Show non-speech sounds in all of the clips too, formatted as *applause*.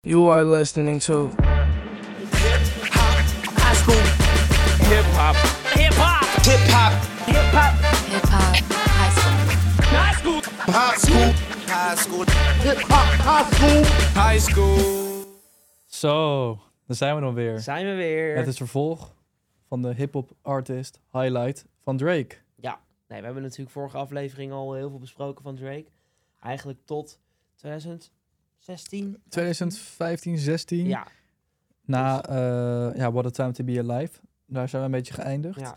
You are listening to High school. Hip hop. Hip hop. Hip hop. Hip hop. Hip hop high school. High school. High school. High school. Hip hop. High school. High school. Zo, daar zijn we dan weer. Zijn we weer. Het is vervolg van de hip-hop artist highlight van Drake. Ja. Nee, we hebben natuurlijk vorige aflevering al heel veel besproken van Drake. Eigenlijk tot 2016. 2015, 16. Ja, Na eh, ja, What a Time to Be Alive. Daar zijn we een beetje geëindigd. ja.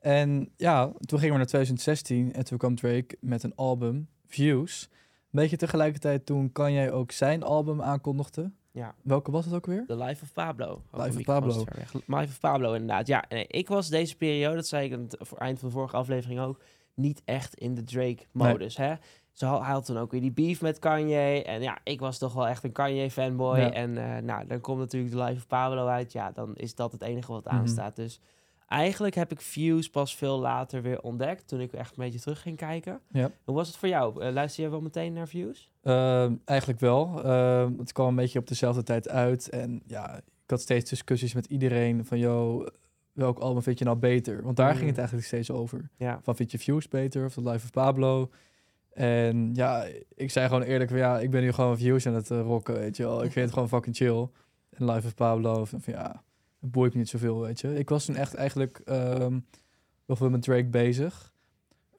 En ja, toen gingen we naar 2016 en toen kwam Drake met een album, Views. Een beetje tegelijkertijd toen kan jij ook zijn album aankondigde. Ja. Welke was het ook weer? The Life of Pablo. Life of Ook een Pablo. microfoon is ver weg. Life of Pablo, inderdaad. Ja, nee, ik was deze periode, dat zei ik aan het voor- eind van de vorige aflevering ook, niet echt in de Drake-modus. hè? Ze had, hij had toen ook weer die beef met Kanye. En ja, ik was toch wel echt een Kanye-fanboy. Ja. En eh, nou, dan komt natuurlijk The Life of Pablo uit. Ja, dan is dat het enige wat Mhm. aanstaat. Dus eigenlijk heb ik Views pas veel later weer ontdekt, toen ik echt een beetje terug ging kijken. Ja. Hoe was het voor jou? Eh, luister jij wel meteen naar Views? Ehm, eigenlijk wel. Ehm, het kwam een beetje op dezelfde tijd uit. En ja, ik had steeds discussies met iedereen van... Yo, welk album vind je nou beter? Want daar ging het Mm. eigenlijk steeds over. Ja. Van vind je Views beter of The Life of Pablo? En ja, ik zei gewoon eerlijk... van, Ja, ik ben nu gewoon Views aan het eh, rocken, weet je wel. Ik vind het gewoon fucking chill. En Life of Pablo, van, van, ja, het boeit me niet zoveel, weet je. Ik was toen echt eigenlijk ehm nog wel met Drake bezig.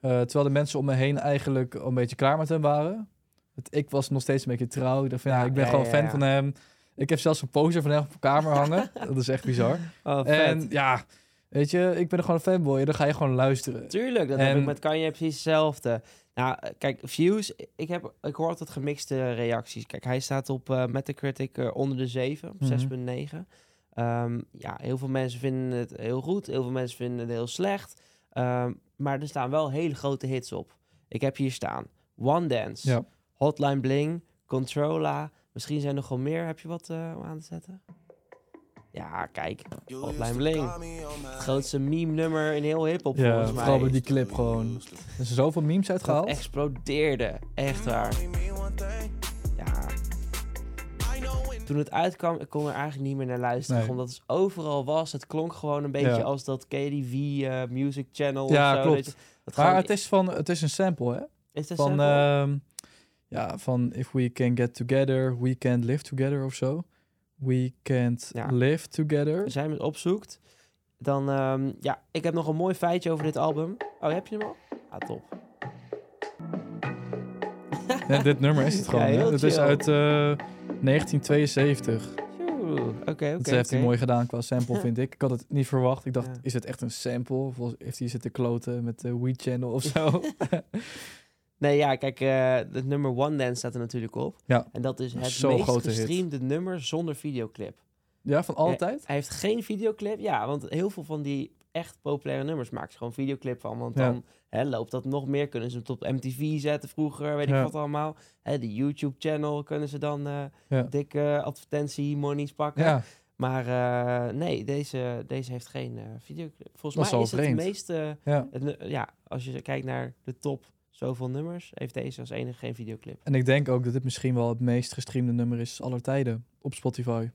Eh, terwijl de mensen om me heen eigenlijk al een beetje klaar met hem waren. Want ik was nog steeds een beetje trouw. Ik dacht van, ja, Ja, ik ben ja, gewoon ja, fan ja. van hem. Ik heb zelfs een poster van hem op mijn kamer hangen. Dat is echt *laughs* bizar. Oh, En ja, weet je, ik ben gewoon een fanboy. En dan ga je gewoon luisteren. Tuurlijk, dat heb En- ik met Kanye precies hetzelfde. Nou, eh, kijk, Views, ik, heb, ik hoor altijd gemixte reacties. Kijk, hij staat op eh Metacritic eh, onder de 7, op Mhm. 6.9. Ehm, ja, heel veel mensen vinden het heel goed, heel veel mensen vinden het heel slecht. Ehm, maar er staan wel hele grote hits op. Ik heb hier staan One Dance, Ja. Hotline Bling, Controla. Misschien zijn er nog wel meer. Heb je wat eh, om aan te zetten? Ja, kijk, Hotline Bling. Het grootste meme-nummer in heel hip-hop Ja, volgens mij. vooral bij die clip gewoon. Er zijn zoveel memes Dat uitgehaald. explodeerde. Echt waar. Ja. Toen het uitkwam, ik kon er eigenlijk niet meer naar luisteren. Nee. Omdat het overal was. Het klonk gewoon een beetje Ja. als dat KDV eh, Music Channel. Ja, of zo, klopt. weet je. Dat Maar gewoon- het is, van, het is een sample, hè? is het Van, sample? ehm, ja, van if we can get together, we can live together of zo. We can't Ja. live together. *laughs* Als jij hem eens opzoekt, dan... ehm, ja, ik heb nog een mooi feitje over dit album. Oh, heb je hem al? Ah, top. Ja, dit nummer is het gewoon. Ja, hè? heel Het is chill. uit eh, 1972. Tjoe. Oké, oké, dat heeft hij oké. mooi gedaan qua sample, vind ik. Ik had het niet verwacht. Ik dacht, Ja. is het echt een sample? Of heeft hij zitten kloten met de Wii Channel of *laughs* zo? Nee, ja, kijk, eh, het nummer One Dance staat er natuurlijk op. Ja. En dat is het Zo'n meest grote hit. gestreamde nummer zonder videoclip. ja, van altijd? Hij heeft geen videoclip, ja, want heel veel van die echt populaire nummers maken ze gewoon videoclip van. Want Ja. dan hè, loopt dat nog meer, kunnen ze het op MTV zetten vroeger, weet Ja. ik wat allemaal. Hè, de YouTube-channel kunnen ze dan eh, Ja. dikke advertentie-monies pakken. Ja, Maar eh, nee, deze, deze heeft geen eh, videoclip. Volgens Dat is mij wel is het vreemd. de meeste, ja. het nu- ja, als je kijkt naar de top zoveel nummers, heeft deze als enige geen videoclip. En ik denk ook dat dit misschien wel het meest gestreamde nummer is aller tijden op Spotify.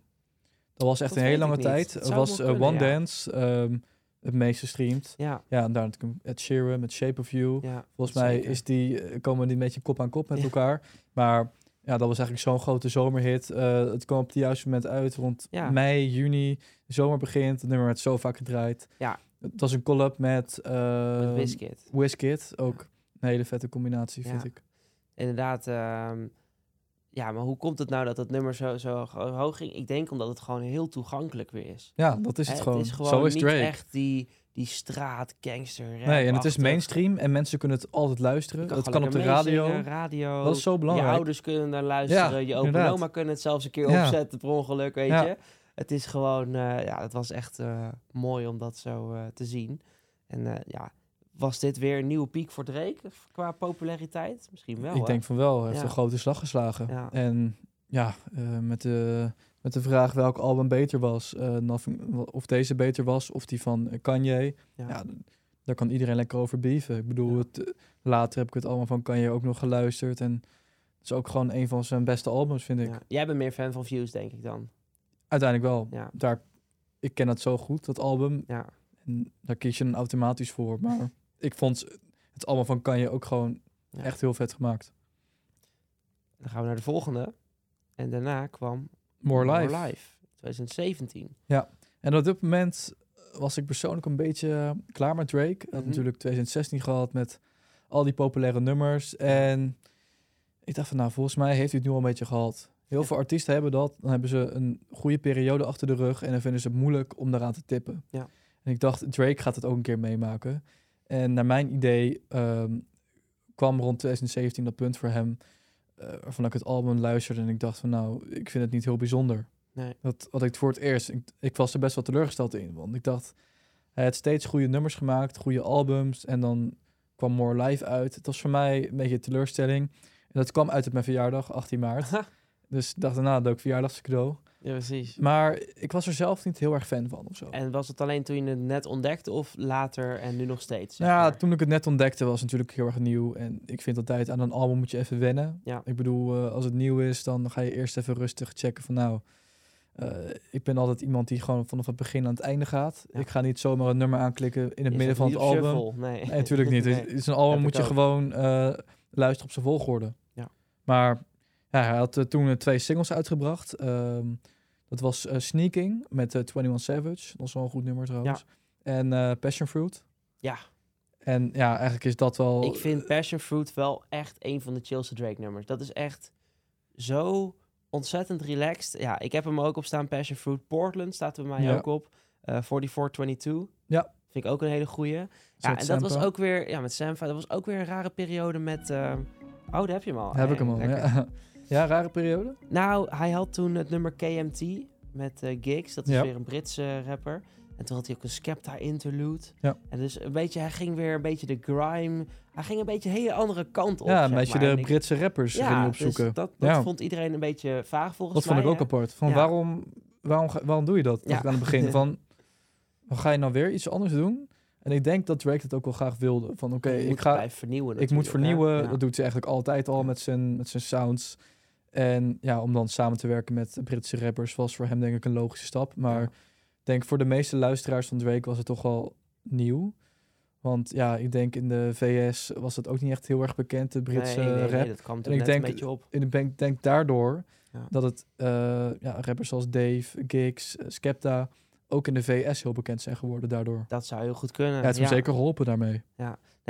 Dat was echt Dat een hele weet ik lange niet. tijd. Het Het zou was wel eh, kunnen, One ja. Dance ehm, het meest gestreamd. Ja, Ja, en daar natuurlijk Ed Sheeran met Shape of You. ja Volgens mij zeker. is die, eh, komen die een beetje kop aan kop met Ja. elkaar. Maar ja, dat was eigenlijk zo'n grote zomerhit. Eh, het kwam op het juiste moment uit rond Ja. mei, juni. De zomer begint. Het nummer werd zo vaak gedraaid. Ja. Het was een collab met, eh, Met Wizkid. Wizkid. Ook een hele vette combinatie, vind Ja. ik. inderdaad. ehm, ja, maar hoe komt het nou dat dat nummer zo, zo ho- hoog ging? Ik denk omdat het gewoon heel toegankelijk weer is. Ja, dat is het, Hè, gewoon. is gewoon zo is niet Drake. echt die, die straat gangster. nee, en het is mainstream en mensen kunnen het altijd luisteren. Het kan op de radio. radio. Dat is zo oh, Je belangrijk. ouders kunnen daar luisteren. je opa en inderdaad. oma kunnen het zelfs een keer Ja. opzetten per ongeluk, weet Ja. je. Het is gewoon, eh, ja, het was echt eh, mooi om dat zo eh, te zien. En eh, ja, was dit weer een nieuwe piek voor Drake qua populariteit? Misschien wel, Ik hè? denk van wel. Hij heeft Ja. een grote slag geslagen. Ja. En ja, eh, met, de, met de vraag welk album beter was. eh, Nothing- of deze beter was, of die van eh, Kanye. Ja. Ja, d- daar kan iedereen lekker over beeven. Ik bedoel, Ja. het, eh, later heb ik het allemaal van Kanye ook nog geluisterd. En is ook gewoon een van zijn beste albums, vind ik. Ja. Jij bent meer fan van Views, denk ik dan. Uiteindelijk wel. Ja. Daar, ik ken dat zo goed, dat album. Ja. En daar kies je dan automatisch voor. Maar ik vond het album van Kanye ook gewoon Ja. echt heel vet gemaakt. Dan gaan we naar de volgende. En daarna kwam More Life. 2017. En op dit moment was ik persoonlijk een beetje eh, klaar met Drake. Hij Had Mhm. natuurlijk 2016 gehad met al die populaire nummers. En ik dacht van, nou, volgens mij heeft hij het nu al een beetje gehad. Heel Ja. veel artiesten hebben dat. Dan hebben ze een goede periode achter de rug en dan vinden ze het moeilijk om daaraan te tippen. Ja. En ik dacht, Drake gaat het ook een keer meemaken. En naar mijn idee ehm, kwam rond 2017 dat punt voor hem... eh, waarvan ik het album luisterde en ik dacht van, nou, ik vind het niet heel bijzonder. Nee. Dat had ik voor het eerst. Ik, ik was er best wel teleurgesteld in, want ik dacht... Hij had steeds goede nummers gemaakt, goede albums. En dan kwam More Live uit. Het was voor mij een beetje een teleurstelling. En dat kwam uit op mijn verjaardag, 18 maart. dus ik dacht daarna, leuk verjaardagscadeau. Ja, precies. Maar ik was er zelf niet heel erg fan van of zo. En was het alleen toen je het net ontdekte of later en nu nog steeds? zeg Nou ja, maar? toen ik het net ontdekte was het natuurlijk heel erg nieuw. En ik vind altijd aan een album moet je even wennen. Ja. Ik bedoel, eh, als het nieuw is, dan ga je eerst even rustig checken van nou... eh, ik ben altijd iemand die gewoon vanaf het begin aan het einde gaat. Ja. Ik ga niet zomaar een nummer aanklikken in het Je midden zet van niet het op album. shuffle, Nee, Nee, natuurlijk *laughs* niet. Dus Nee. Het is een album Heb moet ik je ook. gewoon eh, luisteren op zijn volgorde. Ja. Maar ja, hij had eh, toen eh, twee singles uitgebracht. Ehm, dat was eh, Sneaking met eh, 21 Savage. Dat is wel een goed nummer trouwens. En eh, Passion Fruit. Ja. En ja, eigenlijk is dat wel... Ik vind Passion Fruit wel echt een van de chillste Drake nummers. Dat is echt zo ontzettend relaxed. Ja, ik heb hem ook op staan. Passion Fruit Portland staat er bij mij Ja. ook op. Eh 4422. Ja. Vind ik ook een hele goeie. Zet Ja, en dat was Sampa. ook weer... Ja, met Sampa. Dat was ook weer een rare periode met... eh, Oh, daar heb je hem al. Heb ik Hey, hem al, lekker. ja. *laughs* ja, rare periode. Nou, hij had toen het nummer KMT met eh, Gigs. Dat is Ja. weer een Britse eh, rapper. En toen had hij ook een Skepta interlude. Ja. En dus een beetje, hij ging weer een beetje de grime. Hij ging een beetje een hele andere kant op. ja, zeg een beetje maar. En de ik- Britse rappers ja, gaan die dus opzoeken. dat dat Ja. vond iedereen een beetje vaag volgens dat mij. vond ik ook hè? apart. Van Ja. waarom, waarom, ga- waarom doe je dat? Ja. Dacht ik aan het *laughs* begin van, dan ga je nou weer iets anders doen? En ik denk dat Drake dat ook wel graag wilde. Van oké, Je moet ik ga, blijven vernieuwen ik moet natuurlijk, hè? vernieuwen. Ja. Dat doet hij eigenlijk altijd al met zijn, met zijn sounds. En ja, om dan samen te werken met Britse rappers was voor hem denk ik een logische stap. Maar Ja. ik denk voor de meeste luisteraars van Drake was het toch wel nieuw. Want ja, ik denk in de VS was dat ook niet echt heel erg bekend, de Nee, Britse nee, nee, rap dat kwam ik toen net denk- een beetje op. in de bank denk daardoor Ja. dat het eh, ja, rappers zoals Dave, Gigs, eh, Skepta ook in de VS heel bekend zijn geworden daardoor. Dat zou heel goed kunnen. Ja, het is hem ja. zeker geholpen daarmee. Nee,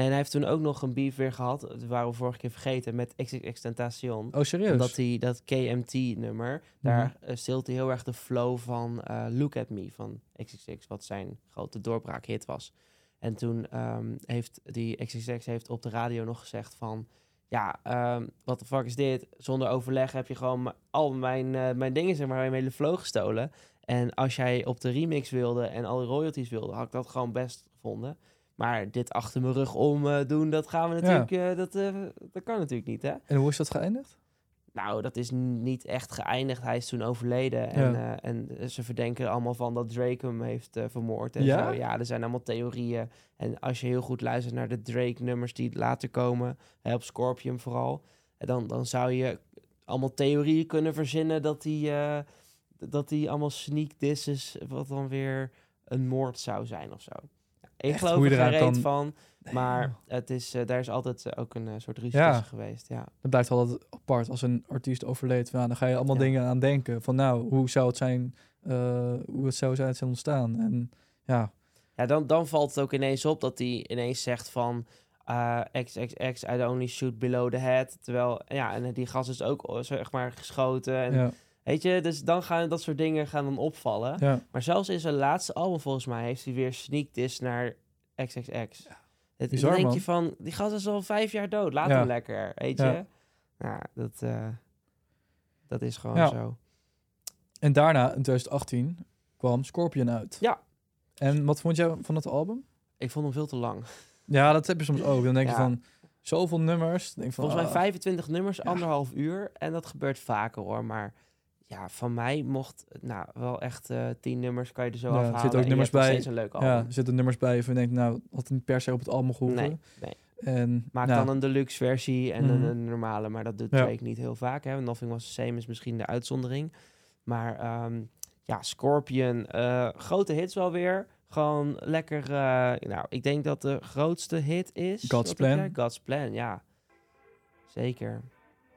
en hij heeft toen ook nog een beef weer gehad. Dat waren we vorige keer vergeten met XXXTentacion. Oh, serieus? Omdat hij dat KMT-nummer, daar eh, stilt hij heel erg de flow van eh, Look At Me van XXX, wat zijn grote doorbraakhit was. En toen ehm, heeft die XXX heeft op de radio nog gezegd van, ja, ehm wat de fuck is dit? Zonder overleg heb je gewoon m- al mijn, eh, mijn dingen, zeg maar, mijn hele flow gestolen. En als jij op de remix wilde en al die royalties wilde, had ik dat gewoon best gevonden. Maar dit achter mijn rug om eh, doen, dat gaan we natuurlijk, eh, dat, eh, dat kan natuurlijk niet, hè? En hoe is dat geëindigd? Nou, dat is n- niet echt geëindigd. Hij is toen overleden. En, Ja. eh, en ze verdenken er allemaal van dat Drake hem heeft eh, vermoord. En Ja? Zo. ja, er zijn allemaal theorieën. En als je heel goed luistert naar de Drake-nummers die later komen, hè, op Scorpion vooral, eh, dan, dan zou je allemaal theorieën kunnen verzinnen dat hij, eh, d- dat hij allemaal sneak disses, wat dan weer een moord zou zijn of zo. Ik Echt, geloof hoe er je geen eraan reet kan- van, Nee, maar joh. het is, eh, daar is altijd eh, ook een eh, soort ruzie Ja. tussen geweest. Ja. Dat blijft altijd apart als een artiest overleed. Ja, dan ga je allemaal Ja. dingen aan denken. Van nou, hoe zou het zijn, eh, hoe het zou zijn ontstaan? En ja, Ja, dan, dan valt het ook ineens op dat hij ineens zegt van... eh XXX, I only shoot below the head. Terwijl, ja, en die gast is ook oh, zeg maar geschoten. En, ja, Weet je, dus dan gaan dat soort dingen gaan dan opvallen. ja. Maar zelfs in zijn laatste album volgens mij heeft hij weer sneak diss naar XXX. Het, bizar, dan denk man. je van, die gast is al vijf jaar dood. Laat Ja. hem lekker, weet je. Ja. Nou, dat, eh, dat is gewoon Ja. zo. En daarna, in 2018, kwam Scorpion uit. Ja. En wat vond jij van het album? Ik vond hem veel te lang. Ja, dat heb je soms ook. Dan denk je Ja. van, zoveel nummers. Dan Denk ik van, Volgens mij ah. 25 nummers, anderhalf uur. En dat gebeurt vaker hoor. Maar ja, van mij mocht, nou, wel echt eh 10 nummers kan je er zo Ja, er afhalen. zitten ook en je nummers hebt nog bij. steeds een leuk album. Ja, er zitten nummers bij waarvan je denkt, nou, had niet per se op het album gehoeven. Oh. nee, nee. En, Maak nou, dan een deluxe versie en Mhm. een, een normale. Maar dat doet Ja. Drake niet heel vaak. Hè. Nothing Was The Same is misschien de uitzondering. Maar ehm, ja, Scorpion. eh, grote hits wel weer. Gewoon lekker... eh, nou, ik denk dat de grootste hit is... God's wat heb Plan. jij? God's Plan, ja. Zeker.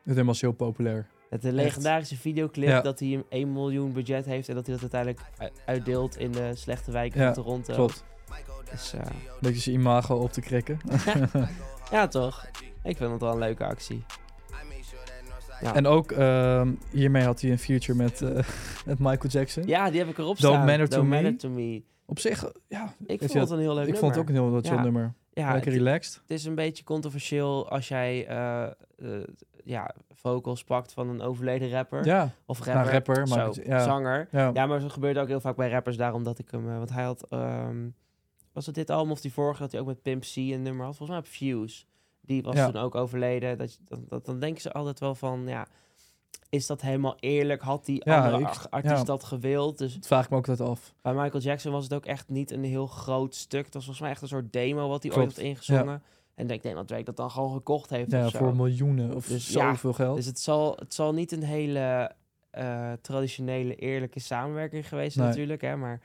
Het helemaal heel populair. Het een legendarische videoclip Ja. dat hij een 1 miljoen budget heeft... en dat hij dat uiteindelijk u- uitdeelt in de slechte wijken Ja, van Toronto. Klopt. Dus, eh, Beetje zijn imago op te krikken. *laughs* ja, toch? Ik vind het wel een leuke actie. Ja. En ook ehm, hiermee had hij een future met, eh, *laughs* met Michael Jackson. Ja, die heb ik erop Don't staan. Matter to Me. Matter to Me. Op zich, eh, ja, Ik je vond het dat- een heel leuk ik vond het ook een heel wat chill Ja. nummer. ja, het, Lekker relaxed. het is een beetje controversieel als jij eh, eh, ja, vocals pakt van een overleden rapper. Ja, Of rapper. nou, rapper. Maar zo, ja, zanger. ja. Ja, maar dat gebeurt ook heel vaak bij rappers. Daarom dat ik hem... eh, want hij had... ehm, was het dit album of die vorige dat hij ook met Pimp C een nummer had? Volgens mij op Fuse. Die was Ja. toen ook overleden. Dat, je- dat, dat- dan denken ze altijd wel van... Ja, is dat helemaal eerlijk? Had die Ja, andere ik- ach- artiest ja. dat gewild? Dus Dat vraag ik me ook dat af. Bij Michael Jackson was het ook echt niet een heel groot stuk. Het was volgens mij echt een soort demo wat hij ooit Klopt, had ingezongen. En ik denk dat Drake dat dan gewoon gekocht heeft Ja, of zo. voor miljoenen of Dus ja, zoveel geld. Dus het zal, het zal niet een hele eh, traditionele, eerlijke samenwerking geweest zijn Nee. natuurlijk. Hè? Maar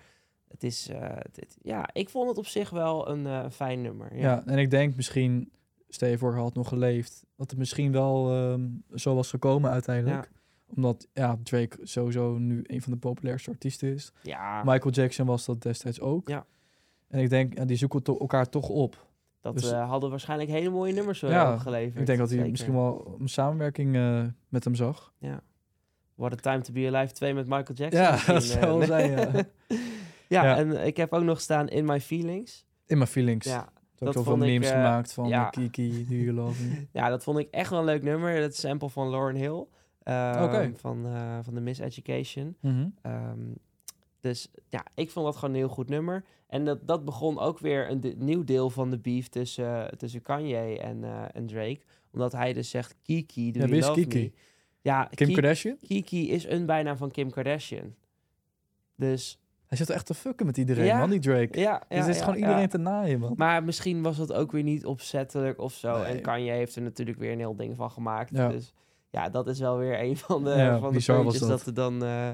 het is... eh, het- het- ja, ik vond het op zich wel een eh, fijn nummer. Ja. ja. en ik denk misschien, stel je voor, hij had nog geleefd, dat het misschien wel ehm, zo was gekomen uiteindelijk. Omdat ja, Drake sowieso nu een van de populairste artiesten is. Ja, Michael Jackson was dat destijds ook. Ah. Ja. En ik denk, ja, die zoeken to- elkaar toch op. dat dus- eh, hadden waarschijnlijk hele mooie nummers eh, Ja, opgeleverd. Ik denk dat hij Zeker. misschien wel een samenwerking eh, met hem zag. What a Time to Be Alive 2 met Michael Jackson. Ja, misschien, dat eh, zou wel zijn. ja. *laughs* ja, Ja. en ik heb ook nog staan In My Feelings. In mijn feelings. Ja, Er zijn ook dat zoveel vond ik, memes eh, gemaakt van ja. eh, Kiki, Do You Love Me. *laughs* Ja, dat vond ik echt wel een leuk nummer. Dat sample van Lauren Hill. ehm, Oké. van, eh, van de Miss Education. Mhm. Ehm, dus ja, ik vond dat gewoon een heel goed nummer. En dat, dat begon ook weer een de- nieuw deel van de beef tussen, tussen Kanye en, eh, en Drake. Omdat hij dus zegt, Kiki, do Ja, you wie is love Kiki? me? Ja, Kim Ki- Kardashian? Kiki is een bijnaam van Kim Kardashian. Dus Hij zit echt te fucken met iedereen, Ja. man, die Drake. ja, ja dus het is ja, gewoon ja. iedereen te naaien, man. Maar misschien was dat ook weer niet opzettelijk of zo. Nee. En Kanye heeft er natuurlijk weer een heel ding van gemaakt. Ja. Dus ja, dat is wel weer een van de, Ja, van de bizar was puntjes dat. dat. er dan, eh,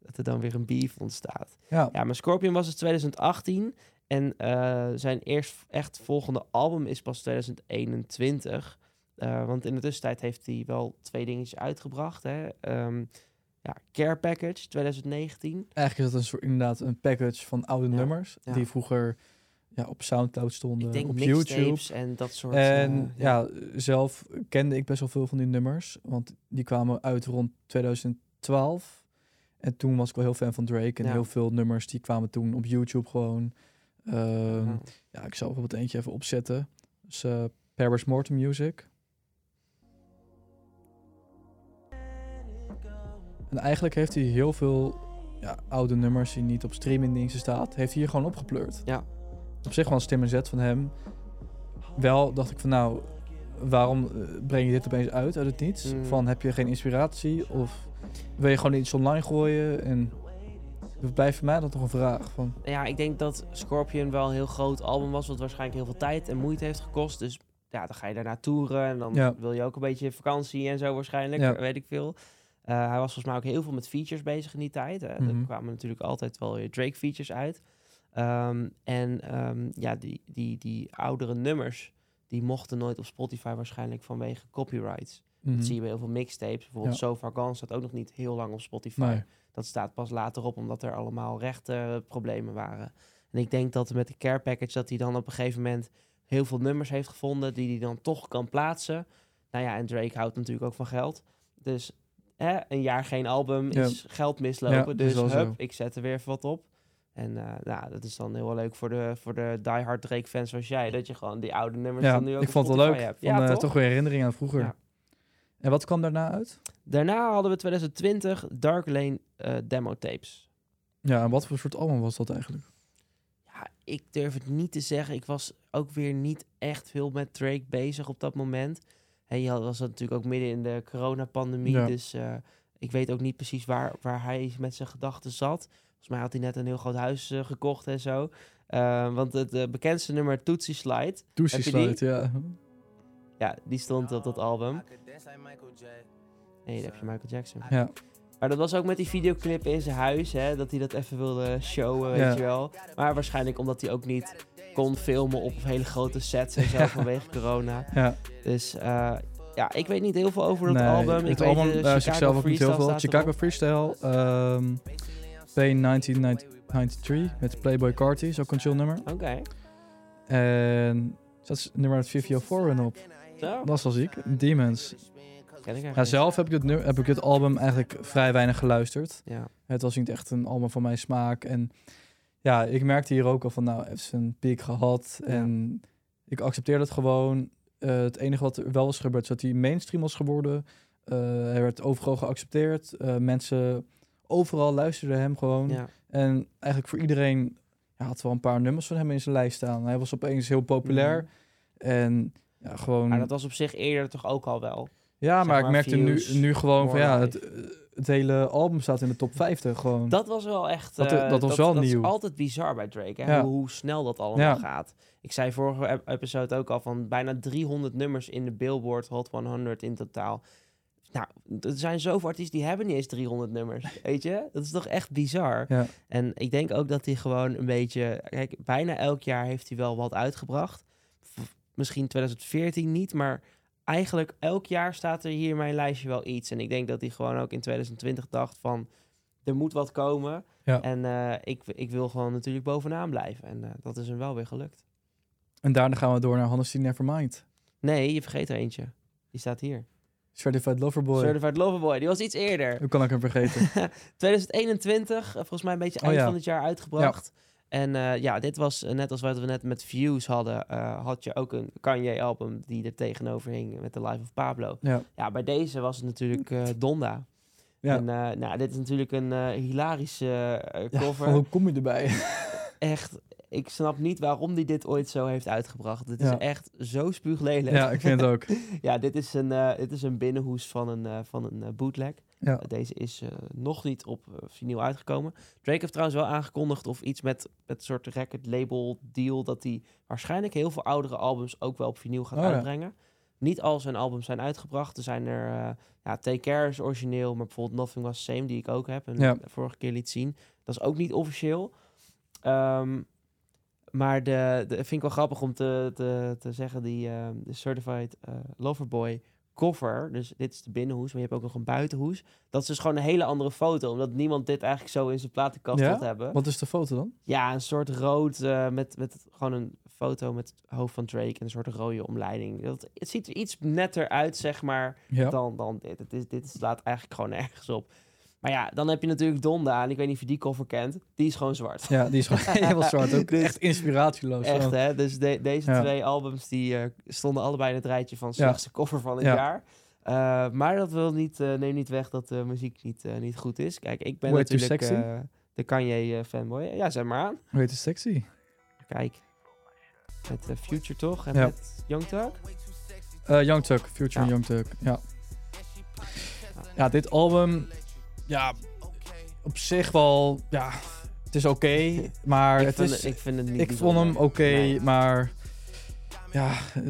dat er dan weer een beef ontstaat. Ja, Ja, maar Scorpion was het 2018. En eh, zijn eerst echt volgende album is pas 2021. Eh, want in de tussentijd heeft hij wel twee dingetjes uitgebracht. Hè? Ehm, ja, Care Package 2019. eigenlijk is dat een soort, inderdaad een package van oude Ja, nummers. ja. Die vroeger ja, op Soundcloud stonden, Ik denk op YouTube. mixtapes en dat soort... En eh, ja, zelf kende ik best wel veel van die nummers. Want die kwamen uit rond 2012. En toen was ik wel heel fan van Drake. En Ja. heel veel nummers die kwamen toen op YouTube gewoon. Ehm, ja. Ja, ik zal bijvoorbeeld eentje even opzetten. Dus eh Paris Morton Music. En eigenlijk heeft hij heel veel ja, oude nummers die niet op streamingdiensten staat, heeft hij hier gewoon opgepleurd. Ja. Op zich wel een slimme zet van hem. Wel dacht ik van nou, waarom eh, breng je dit opeens uit uit het niets? Mm. Van heb je geen inspiratie of wil je gewoon iets online gooien? En dat blijft voor mij dan toch een vraag van ja, ik denk dat Scorpion wel een heel groot album was, wat waarschijnlijk heel veel tijd en moeite heeft gekost. Dus ja, dan ga je daarna toeren en dan Ja. wil je ook een beetje vakantie en zo waarschijnlijk, Ja. weet ik veel. Eh, hij was volgens mij ook heel veel met features bezig in die tijd. Hè. Mhm. Er kwamen natuurlijk altijd wel weer Drake features uit. Ehm, en ehm, ja, die, die, die oudere nummers, die mochten nooit op Spotify waarschijnlijk vanwege copyrights. mhm, Dat zie je bij heel veel mixtapes. Bijvoorbeeld Ja. So Far Gone staat ook nog niet heel lang op Spotify. nee. Dat staat pas later op, omdat er allemaal rechtenproblemen waren. En ik denk dat met de care package dat hij dan op een gegeven moment heel veel nummers heeft gevonden die hij dan toch kan plaatsen. Nou ja, en Drake houdt natuurlijk ook van geld. Dus hè, een jaar geen album Ja. is geld mislopen. Ja, is dus wel hup, zo. ik zet er weer even wat op. En eh, nou, dat is dan heel wel leuk voor de, voor de diehard Drake fans zoals jij. Dat je gewoon die oude nummers Ja, dan nu ook ik op vond het wel Spotify leuk. hebt. Van, ja, eh, toch? toch? weer herinnering aan vroeger. Ja. En wat kwam daarna uit? Daarna hadden we 2020 Dark Lane eh, demo tapes. Ja, en wat voor soort album was dat eigenlijk? Ja, ik durf het niet te zeggen. Ik was ook weer niet echt veel met Drake bezig op dat moment. En je had- was dat natuurlijk ook midden in de coronapandemie. Ja. Dus eh, Ik weet ook niet precies waar, waar hij met zijn gedachten zat. Volgens mij had hij net een heel groot huis eh, gekocht en zo. Eh, want het eh, bekendste nummer Tootsie Slide, Tootsie Heb je die? Slide, ja. ja, die stond op dat album. Nee, daar heb je Michael Jackson. Ja. Maar dat was ook met die videoclip in zijn huis, hè, dat hij dat even wilde showen, weet Ja. je wel. Maar waarschijnlijk omdat hij ook niet kon filmen op hele grote sets en zo Ja. vanwege corona. ja. Dus eh, ja, ik weet niet heel veel over dat Nee, album. Ik het weet album eh, eh, Chicago zichzelf ook niet heel Freestyle veel. staat erop. Chicago Freestyle, ehm Pain 1993 met Playboy Carti, is ook een chill nummer. Oké, En dat is nummer met Vivio Foreign op. zo. Dat is wel ziek. Demons. Ken ik eigenlijk Ja, niet. zelf heb ik, dit, nu- heb ik dit album eigenlijk vrij weinig geluisterd. Ja. Het was niet echt een album van mijn smaak. En ja, ik merkte hier ook al van, nou, hij heeft zijn piek gehad. Ja. En ik accepteerde het gewoon. Eh, het enige wat er wel is gebeurd, is dat hij mainstream was geworden. Eh, hij werd overal geaccepteerd. Eh, mensen overal luisterden hem gewoon. Ja. En eigenlijk voor iedereen ja, had wel een paar nummers van hem in zijn lijst staan. Hij was opeens heel populair. En ja, gewoon... Mhm. Maar dat was op zich eerder toch ook al wel. Ja, Zeg maar, maar ik merkte views, nu, nu gewoon van more ja, het, eh, life. het hele album staat in de top 50 gewoon. Dat was wel echt. Dat- eh, dat was wel dat nieuw. is altijd bizar bij Drake. Hè? Ja. Hoe, hoe snel dat allemaal Ja. gaat. Ik zei vorige ep- episode ook al van bijna 300 nummers in de Billboard Hot 100 in totaal. Nou, er zijn zoveel artiesten die hebben niet eens 300 *laughs* nummers. Weet je? Dat is toch echt bizar. Ja. En ik denk ook dat hij gewoon een beetje. Kijk, bijna elk jaar heeft hij wel wat uitgebracht. V- Misschien 2014 niet, maar eigenlijk elk jaar staat er hier in mijn lijstje wel iets. En ik denk dat hij gewoon ook in 2020 dacht van er moet wat komen. Ja. En eh, ik, ik wil gewoon natuurlijk bovenaan blijven. En eh, dat is hem wel weer gelukt. En daarna gaan we door naar Hannes die Nevermind. Nee, je vergeet er eentje. Die staat hier. Certified Loverboy. Certified Loverboy, die was iets eerder. Hoe kan ik hem *laughs* vergeten? 2021, eh, volgens mij een beetje Oh, eind ja. van het jaar uitgebracht. En eh, ja, dit was eh, net als wat we net met Views hadden, eh, had je ook een Kanye-album die er tegenover hing met The Life of Pablo. ja. Ja, bij deze was het natuurlijk eh, Donda. Ja. En eh, nou, dit is natuurlijk een eh, hilarische eh, Ja, cover. *laughs* hoe kom je *laughs* erbij? echt, ik snap niet waarom hij dit ooit zo heeft uitgebracht. Het is Ja. echt zo spuuglelijk. ja, ik vind het ook. *laughs* Ja, dit is een, eh, dit is een binnenhoes van een, eh, van een eh, bootleg. Ja. *laughs* Eh, Deze is eh, nog niet op eh, vinyl uitgekomen. Drake heeft trouwens wel aangekondigd of iets met, met een soort record label deal... dat hij waarschijnlijk heel veel oudere albums ook wel op vinyl gaat Oh ja. uitbrengen. Niet al zijn albums zijn uitgebracht. Er zijn er... eh, ja, Take Care is origineel, maar bijvoorbeeld Nothing Was The Same... die ik ook heb en Ja. vorige keer liet zien. Dat is ook niet officieel. Ehm, maar de, de, vind ik wel grappig om te, te, te zeggen, die ehm, de Certified eh, Loverboy cover, dus dit is de binnenhoes, maar je hebt ook nog een buitenhoes. Dat is dus gewoon een hele andere foto, omdat niemand dit eigenlijk zo in zijn platenkast Ja? had hebben. Wat is de foto dan? Ja, een soort rood eh, met, met gewoon een foto met het hoofd van Drake en een soort rode omleiding. Dat, het ziet er iets netter uit, zeg maar, Ja. dan, dan dit. Het is, dit slaat eigenlijk gewoon *laughs* ergens op. Maar ja, dan heb je natuurlijk Donda, en ik weet niet of je die cover kent, die is gewoon zwart. Ja, die is gewoon *laughs* helemaal zwart. Ook echt inspiratieloos. Dus- Echt, Gewoon. hè? Dus de- deze Oh, Ja. twee albums die eh, stonden allebei in het rijtje van slechtste cover van het Ja. jaar. Eh, maar dat wil niet, eh neem niet weg dat de muziek niet, eh, niet goed is. Kijk, ik ben Way too natuurlijk sexy. eh, de Kanye-fanboy. ja, zet maar aan. Hoe heet het sexy? Kijk. Met eh, Future toch? En Ja. met Young Thug? Eh, Young Tuck, Future Ja. Young Tuck. Ja. ja, dit album, ja, op zich wel, ja, het is oké, *laughs* maar ik, het vind is, het, ik vind het niet Ik vond hem bijzonder. oké, Nee. maar ja, eh,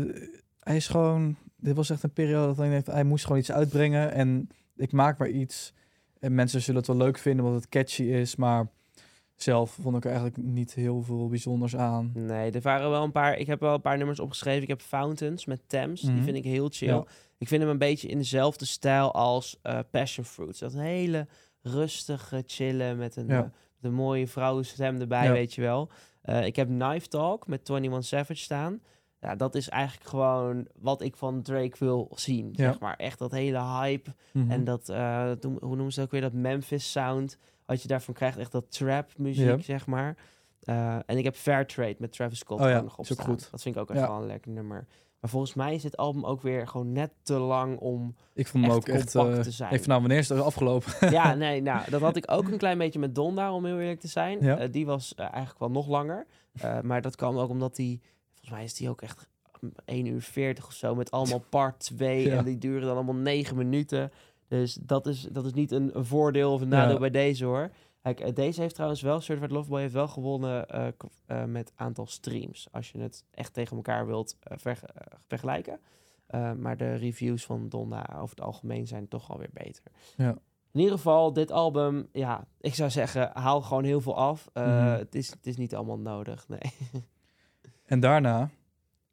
hij is gewoon. Dit was echt een periode dat hij denkt, hij moest gewoon iets uitbrengen en ik maak maar iets. En mensen zullen het wel leuk vinden, want het catchy is, maar zelf vond ik er eigenlijk niet heel veel bijzonders aan. Nee, er waren wel een paar. Ik heb wel een paar nummers opgeschreven. Ik heb Fountains met Thames. Mhm. Die vind ik heel chill. Ja. Ik vind hem een beetje in dezelfde stijl als eh, Passion Fruits. Dat hele rustige chillen met een, Ja. eh, met een mooie vrouwenstem erbij, Ja. weet je wel. Eh, ik heb Knife Talk met 21 Savage staan. Ja, dat is eigenlijk gewoon wat ik van Drake wil zien. Ja. Zeg maar echt dat hele hype. Mhm. En dat, eh, toen- hoe noemen ze dat ook weer, dat Memphis sound. Wat je daarvan krijgt, echt dat trap muziek, Ja. zeg maar. Eh, en ik heb Fair Trade met Travis Scott Oh ja, gewoon nog op is ook staan. goed. Dat vind ik ook echt Ja. wel een lekker nummer. Maar volgens mij is dit album ook weer gewoon net te lang om... ik vond hem echt ook echt. compact eh, te zijn. Ik van nou, wanneer is het afgelopen? *laughs* ja, nee, nou, dat had ik ook een klein beetje met Donda, om heel eerlijk te zijn. Ja. Eh, die was eh, eigenlijk wel nog langer. Eh, maar dat kwam ook omdat die... Volgens mij is die ook echt mm, *laughs* 1 uur 40 of zo, met allemaal part 2. Ja. En die duren dan allemaal 9 minuten. Dus dat is, dat is niet een, een voordeel of een Ja. nadeel bij deze hoor. Kijk, eh, deze heeft trouwens wel, Certified Loveboy heeft wel gewonnen eh, k- eh, met aantal streams. Als je het echt tegen elkaar wilt eh, verge- eh, vergelijken. Eh, maar de reviews van Donna over het algemeen zijn toch alweer beter. Ja. In ieder geval, dit album, ja, ik zou zeggen, haal gewoon heel veel af. Eh, Mhm. het, is, het is niet allemaal nodig, nee. En daarna,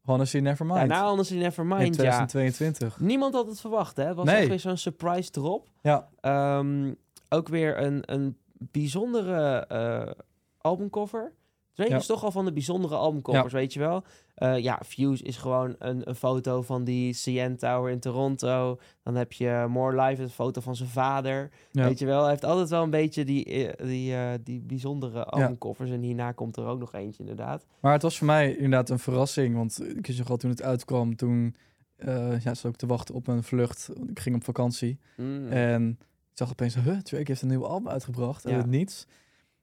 Honesty Nevermind. Daarna anders in in Nevermind, ja. 2022. Niemand had het verwacht, hè? Het was Nee. echt weer zo'n surprise drop. Ja. Ehm, ook weer een, een bijzondere eh, albumcover. Drake Ja. is toch al van de bijzondere albumcovers, weet je wel. Eh, ja, Views is gewoon een, een foto van die CN Tower in Toronto. Dan heb je More Life, een foto van zijn vader. Ja. Weet je wel, hij heeft altijd wel een beetje die, eh, die, eh, die bijzondere albumcovers. En hierna komt er ook nog eentje, inderdaad. Maar het was voor mij inderdaad een verrassing. Want ik zag al toen het uitkwam, toen eh, ja, zat ik te wachten op een vlucht. want Ik ging op vakantie. Mm. En ik zag opeens, huh, Drake heeft een nieuw album uitgebracht. En Ja. het niets.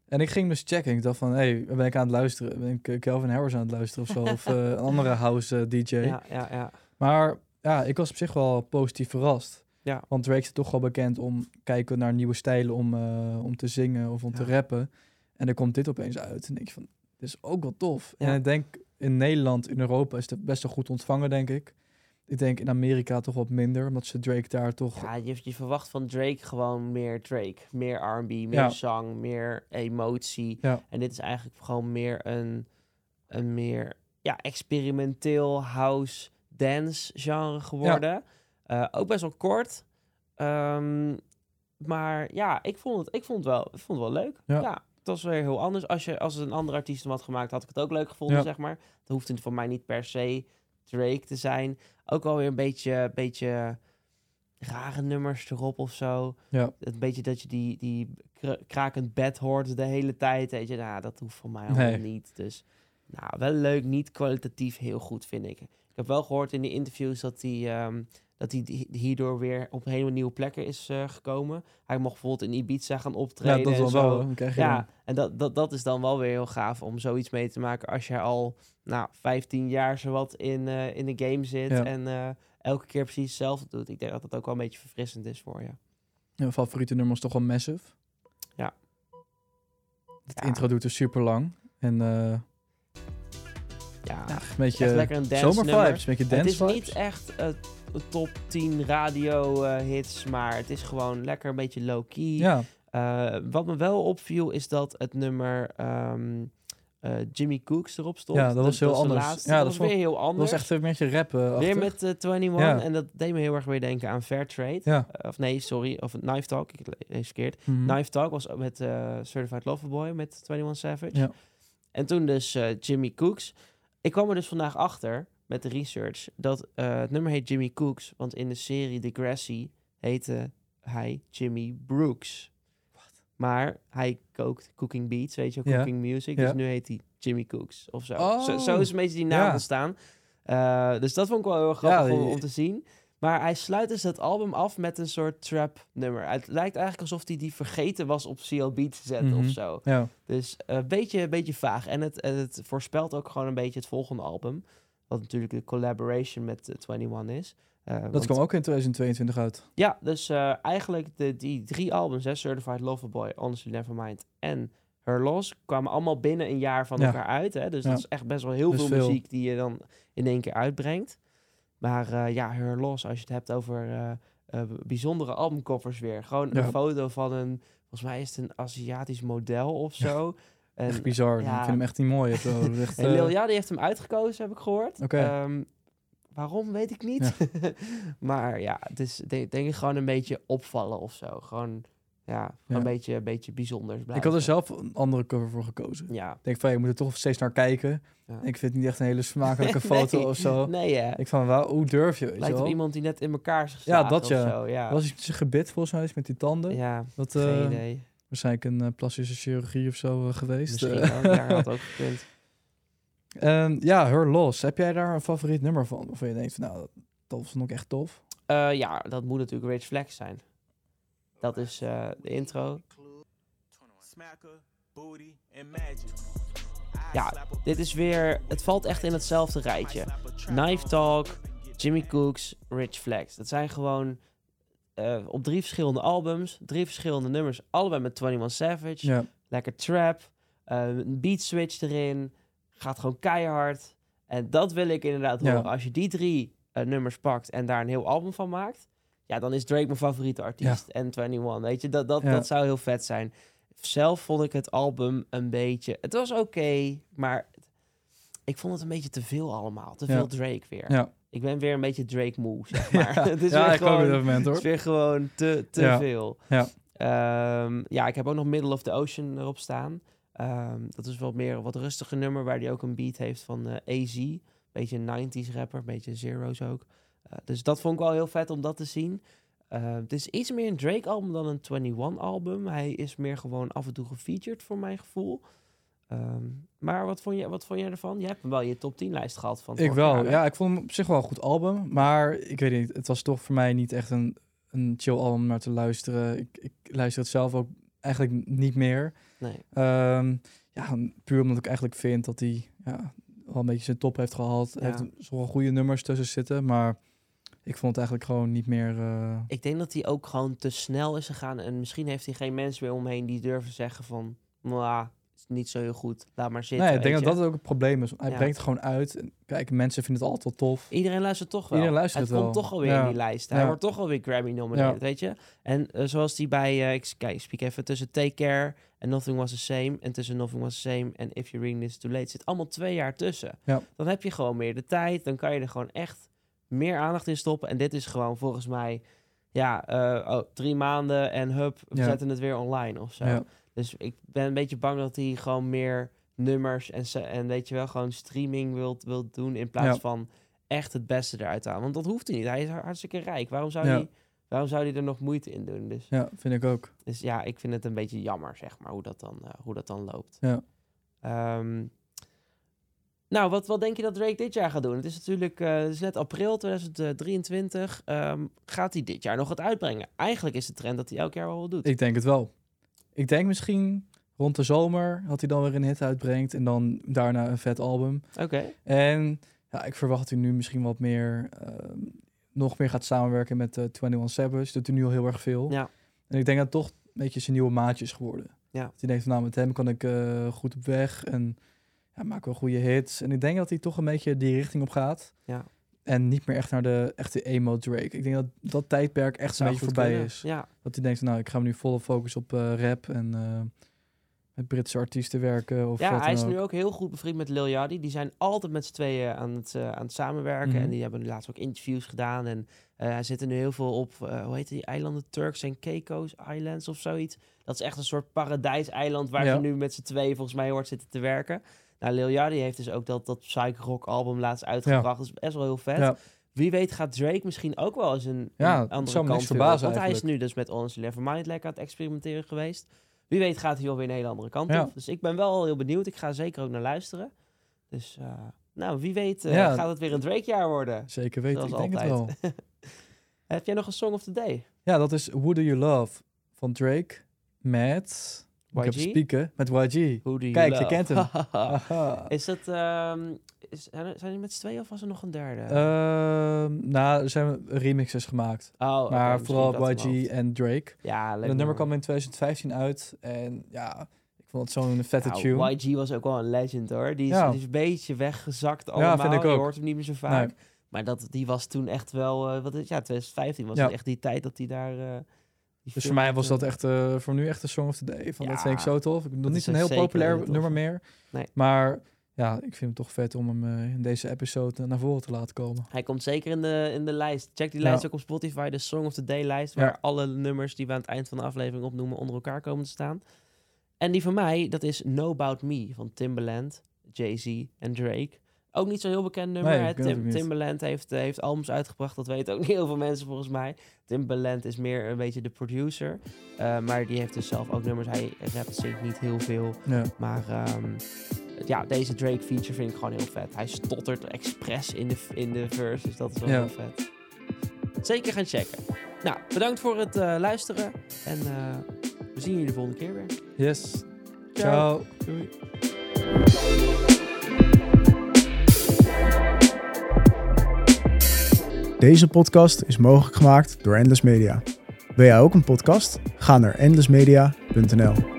En ik ging dus checken. Ik dacht van, hé, hey, ben ik aan het luisteren? Ben ik eh, Calvin Harris aan het luisteren of zo? *laughs* Of eh, een andere house eh, DJ? ja, ja, ja. Maar ja, ik was op zich wel positief verrast. Ja. Want Drake is toch wel bekend om kijken naar nieuwe stijlen om, eh, om te zingen of om te Ja. rappen. En dan komt dit opeens uit. En denk je van, dit is ook wel tof. Ja. En ik denk in Nederland, in Europa is het best wel goed ontvangen, denk ik. Ik denk in Amerika toch wat minder, omdat ze Drake daar toch... Ja, je, je verwacht van Drake gewoon meer Drake. Meer R&B, meer Ja. zang, meer emotie. Ja. En dit is eigenlijk gewoon meer een, een meer ja, experimenteel house dance genre geworden. Eh, ook best wel kort. Ehm, maar ja, ik vond het, ik vond het, wel, ik vond het wel leuk. Ja. het was weer heel anders. Als, je, als het een andere artiest hem had gemaakt, had ik het ook leuk gevonden, Ja. zeg maar. Het hoeft voor mij niet per se Drake te zijn. Ook wel weer een beetje, beetje rare nummers erop of zo. Ja. Een beetje dat je die, die kra- krakend bed hoort de hele tijd. Weet je, nou, dat hoeft voor mij allemaal Nee. niet. Dus nou, wel leuk, niet kwalitatief heel goed, vind ik. Ik heb wel gehoord in de interviews dat hij, ehm, dat hij di- hierdoor weer op helemaal nieuwe plekken is eh, gekomen. Hij mocht bijvoorbeeld in Ibiza gaan optreden. Ja, dat is en wel zo. wel. hè. Dan krijg je Ja, en dat, dat, dat is dan wel weer heel gaaf om zoiets mee te maken als je al nou, 15 jaar zowat in, eh, in de game zit Ja. en eh, elke keer precies hetzelfde doet. Ik denk dat dat ook wel een beetje verfrissend is voor je. Mijn favoriete nummer is toch wel Massive. Ja. Het Ja. intro doet er super lang. En eh, Ja, ja, een beetje echt lekker een dance zomervibes, nummer. een beetje dance het is vibes. niet echt eh, top 10 radio eh, hits, maar het is gewoon lekker een beetje low-key. Ja, Eh, wat me wel opviel is dat het nummer ehm, eh, Jimmy Cooks erop stond. Ja, dat was heel de anders. laatste. Ja, dat dat was vond- weer heel dat anders. was echt een beetje rappen. Weer achter. met eh, 21. Ja. En dat deed me heel erg weer denken aan Fairtrade. Ja. Eh, of nee, sorry. Of Knife Talk. Ik lees verkeerd. Mhm. Knife Talk was met eh Certified Loverboy met 21 Savage. Ja. En toen dus eh, Jimmy Cooks. Ik kwam er dus vandaag achter met de research dat eh, het nummer heet Jimmy Cooks. Want in de serie Degrassi heette hij Jimmy Brooks. Maar hij kookt cooking beats, weet je, wel, Ja. cooking music. Ja. Dus nu heet hij Jimmy Cooks of zo. Oh. Zo, zo is een beetje die naam Ja. ontstaan. Eh, dus dat vond ik wel heel grappig Ja, om, je- om te zien. Maar hij sluit dus dat album af met een soort trap nummer. Het lijkt eigenlijk alsof hij die vergeten was op CLB te zetten Mhm. of zo. Ja, Dus een beetje, beetje vaag. En het, en het voorspelt ook gewoon een beetje het volgende album. Wat natuurlijk de collaboration met eh, 21 is. Eh, dat want- kwam ook in 2022 uit. Ja, dus eh, eigenlijk de, die drie albums, hè, Certified Loverboy, Honestly Nevermind en Her Loss, kwamen allemaal binnen een jaar van Ja. elkaar uit. Hè? Dus Ja. dat is echt best wel heel Dus veel, veel. muziek die je dan in één keer uitbrengt. Maar eh, ja, Her Loss, als je het hebt over eh, eh, bijzondere albumcovers weer. Gewoon Ja. een foto van een, volgens mij is het een Aziatisch model of zo. En, Echt bizar. ja. Ik vind hem echt niet mooi. Het, *laughs* eh, dat is echt, en Lil eh, Yachty heeft hem uitgekozen, heb ik gehoord. Oké. Ehm, waarom, weet ik niet. *laughs* maar ja, het is denk, denk ik gewoon een beetje opvallen of zo. Gewoon, ja, gewoon Ja. Een, beetje, een beetje bijzonders ik blijven. had er zelf een andere cover voor gekozen. Ja. Ik denk van, je moet er toch steeds naar kijken. Ja. Ik vind het niet echt een hele smakelijke foto *laughs* Nee. of zo. Nee, hè. Ik van, wauw, hoe durf je? weet je Lijkt wel? op iemand die net in elkaar is Ja, geslagen dat of ja. zo. Ja, Was iets met zijn gebit volgens mij, iets met die tanden. ja Dat, eh, geen idee. waarschijnlijk een eh, plastische chirurgie of zo eh, geweest. Misschien Eh, wel. Ja, *laughs* had ook gekund. en ja, Her Loss. Heb jij daar een favoriet nummer van? Of je denkt van, nou, dat, dat vond ik echt tof. Eh, ja, dat moet natuurlijk Rage Flex zijn. Dat is eh, de intro. Smacker, booty and magic. Ja, dit is weer... Het valt echt in hetzelfde rijtje. Knife Talk, Jimmy Cooks, Rich Flex. Dat zijn gewoon eh, op drie verschillende albums, drie verschillende nummers, allebei met 21 Savage. Ja. Lekker trap, eh, een beat switch erin, gaat gewoon keihard. En dat wil ik inderdaad Ja. horen. Als je die drie eh, nummers pakt en daar een heel album van maakt, ja, dan is Drake mijn favoriete artiest. En 21, weet je, dat, dat, Ja. dat zou heel vet zijn. Zelf vond ik het album een beetje. Het was oké, maar ik vond het een beetje te veel allemaal. Te Ja. veel Drake weer. Ja. Ik ben weer een beetje Drake moe, *laughs* zeg *laughs* maar. *laughs* het is ja, weer ik ook op gewoon, dat moment het hoor. is weer gewoon te, te Ja. veel. Ja. Ehm, ja, ik heb ook nog Middle of the Ocean erop staan. Ehm, dat is wat meer een wat rustiger nummer, waar hij ook een beat heeft van eh AZ. Beetje een 90s rapper, een beetje zeros ook. Eh, dus dat vond ik wel heel vet om dat te zien. Ehm, het is iets meer een Drake-album dan een 21-album. Hij is meer gewoon af en toe gefeatured, voor mijn gevoel. Ehm, maar wat vond, je, wat vond jij ervan? Je hebt wel je top 10-lijst gehad van Ik vorig wel. jaar, hè? ja, ik vond hem op zich wel een goed album. Maar ik weet niet, het was toch voor mij niet echt een, een chill album om naar te luisteren. Ik, ik luister het zelf ook eigenlijk niet meer. Nee. Ehm, ja, puur omdat ik eigenlijk vind dat hij ja, wel een beetje zijn top heeft gehaald. Hij Ja. heeft zoveel goede nummers tussen zitten. Maar ik vond het eigenlijk gewoon niet meer... eh, Ik denk dat hij ook gewoon te snel is gegaan. En misschien heeft hij geen mensen meer omheen die durven zeggen van... "Mwah, is niet zo heel goed, laat maar zitten. nee, ik denk weet dat je. dat ook het probleem is. Hij Ja. brengt het gewoon uit. En Kijk, mensen vinden het altijd wel tof. Iedereen luistert toch wel. Iedereen luistert het het komt wel. toch alweer Ja. in die lijst. Hij Ja. wordt toch alweer Grammy nomineerd, Ja. weet je. En eh, zoals die bij... eh, ik, kijk, ik spreek even tussen Take Care en Nothing Was The Same. En tussen Nothing Was The Same en If You're Reading This Too Late. Zit allemaal twee jaar tussen. Ja. Dan heb je gewoon meer de tijd. Dan kan je er gewoon echt meer aandacht in stoppen. En dit is gewoon volgens mij... Ja, eh, oh, drie maanden en hup, we Ja. zetten het weer online of zo. Ja. Dus ik ben een beetje bang dat hij gewoon meer nummers en, se- en weet je wel, gewoon streaming wilt, wilt doen in plaats Ja. van echt het beste eruit te halen. Want dat hoeft hij niet. Hij is har- hartstikke rijk. Waarom zou, Ja. hij, waarom zou hij er nog moeite in doen? Dus, Ja, vind ik ook. dus ja, ik vind het een beetje jammer, zeg maar, hoe dat dan, eh, hoe dat dan loopt. Ja. Ehm, nou, wat, wat denk je dat Drake dit jaar gaat doen? Het is natuurlijk eh, het is net april 2023. Ehm, gaat hij dit jaar nog wat uitbrengen? Eigenlijk is de trend dat hij elk jaar wel wat doet. Ik denk het wel. Ik denk misschien rond de zomer dat hij dan weer een hit uitbrengt en dan daarna een vet album. Oké. En ja, ik verwacht dat hij nu misschien wat meer, ehm, nog meer gaat samenwerken met eh 21 Savage. Doet hij nu al heel erg veel. Ja. En ik denk dat het toch een beetje zijn nieuwe maatje is geworden. Ja. Dat hij denkt, van, nou met hem kan ik eh, goed op weg en ja, maak wel goede hits. En ik denk dat hij toch een beetje die richting op gaat. Ja. En niet meer echt naar de echte emo Drake. Ik denk dat dat tijdperk echt een Zou beetje goed voorbij kunnen. is. Ja, Dat hij denkt, nou, ik ga me nu volle focus op eh, rap en eh, met Britse artiesten werken. Of ja wat hij dan is ook. nu ook heel goed bevriend met Lil Yachty. Die zijn altijd met z'n tweeën aan het, eh, aan het samenwerken. Mhm. En die hebben laatst ook interviews gedaan. En eh hij zit er nu heel veel op, eh, hoe heet die eilanden? Turks en Caicos Islands of zoiets. Dat is echt een soort paradijseiland waar Ja. ze nu met z'n tweeën volgens mij hoort zitten te werken. Nou, Lil Yachty heeft dus ook dat, dat Psych Rock album laatst uitgebracht. Dat is best wel heel vet. Ja. Wie weet gaat Drake misschien ook wel eens een, Ja, een het andere zou me kant niks weer verbazen op. Want hij is eigenlijk. nu dus met Orange Nevermind lekker aan het experimenteren geweest. Wie weet gaat hij wel weer een hele andere kant Ja. op. Dus ik ben wel heel benieuwd. Ik ga er zeker ook naar luisteren. Dus eh, nou, wie weet eh, Ja. gaat het weer een Drake-jaar worden. Zeker weten, ik Zoals denk het wel. altijd. *laughs* Heb jij nog een Song of the Day? Ja, dat is Who Do You Love van Drake met... Ik heb YG? spieken met YG. Hoe doe Kijk, je kent hem. Ah. Aha. *laughs* is dat... ehm, is, zijn er- zijn er met z'n tweeën of was er nog een derde? Eh, Ehm, nou, er zijn remixes gemaakt. oh, oké, maar misschien heb ik vooral dat in mijn YG hoofd. en Drake. Ja, leuk En dat nummer kwam in 2015 uit. En ja, ik vond het zo'n vette Nou, tune. YG was ook wel een legend hoor. Die is, Ja. die is een beetje weggezakt allemaal. vind ik Je ook. hoort hem niet meer zo vaak. Maar dat, die was toen echt wel... eh, wat is, ja, 2015 was Ja. het echt die tijd dat hij daar... eh, die Dus film voor mij was had, dat echt, eh, voor nu echt een song of the day. Van, Ja, dat vind ik zo tof. Ik bedoel, dat niet is een ook heel zeker populair heel tof. nummer meer. Nee. Maar ja, ik vind hem toch vet om hem eh, in deze episode naar voren te laten komen. Hij komt zeker in de, in de lijst. Check die Ja. lijst ook op Spotify, de Song of the Day lijst, Ja. waar alle nummers die we aan het eind van de aflevering opnoemen onder elkaar komen te staan. En die van mij, dat is No About Me van Timbaland, Jay-Z en Drake. Ook niet zo'n heel bekend nummer. Nee, hè? ik ken het Tim- ook niet. Timbaland heeft, eh, heeft albums uitgebracht, dat weten ook *laughs* niet heel veel mensen volgens mij. Timbaland is meer een beetje de producer, eh, maar die heeft dus zelf ook nummers. Hij rapt zingt niet heel veel. Ja, Maar ehm, ja, deze Drake feature vind ik gewoon heel vet. Hij stottert expres in de, in de verse, dus dat is wel Ja. heel vet. Zeker gaan checken. Nou, bedankt voor het eh, luisteren. En eh, we zien jullie de volgende keer weer. yes. Ciao. Ciao. Doei. Deze podcast is mogelijk gemaakt door Endless Media. Wil jij ook een podcast? Ga naar endlessmedia.nl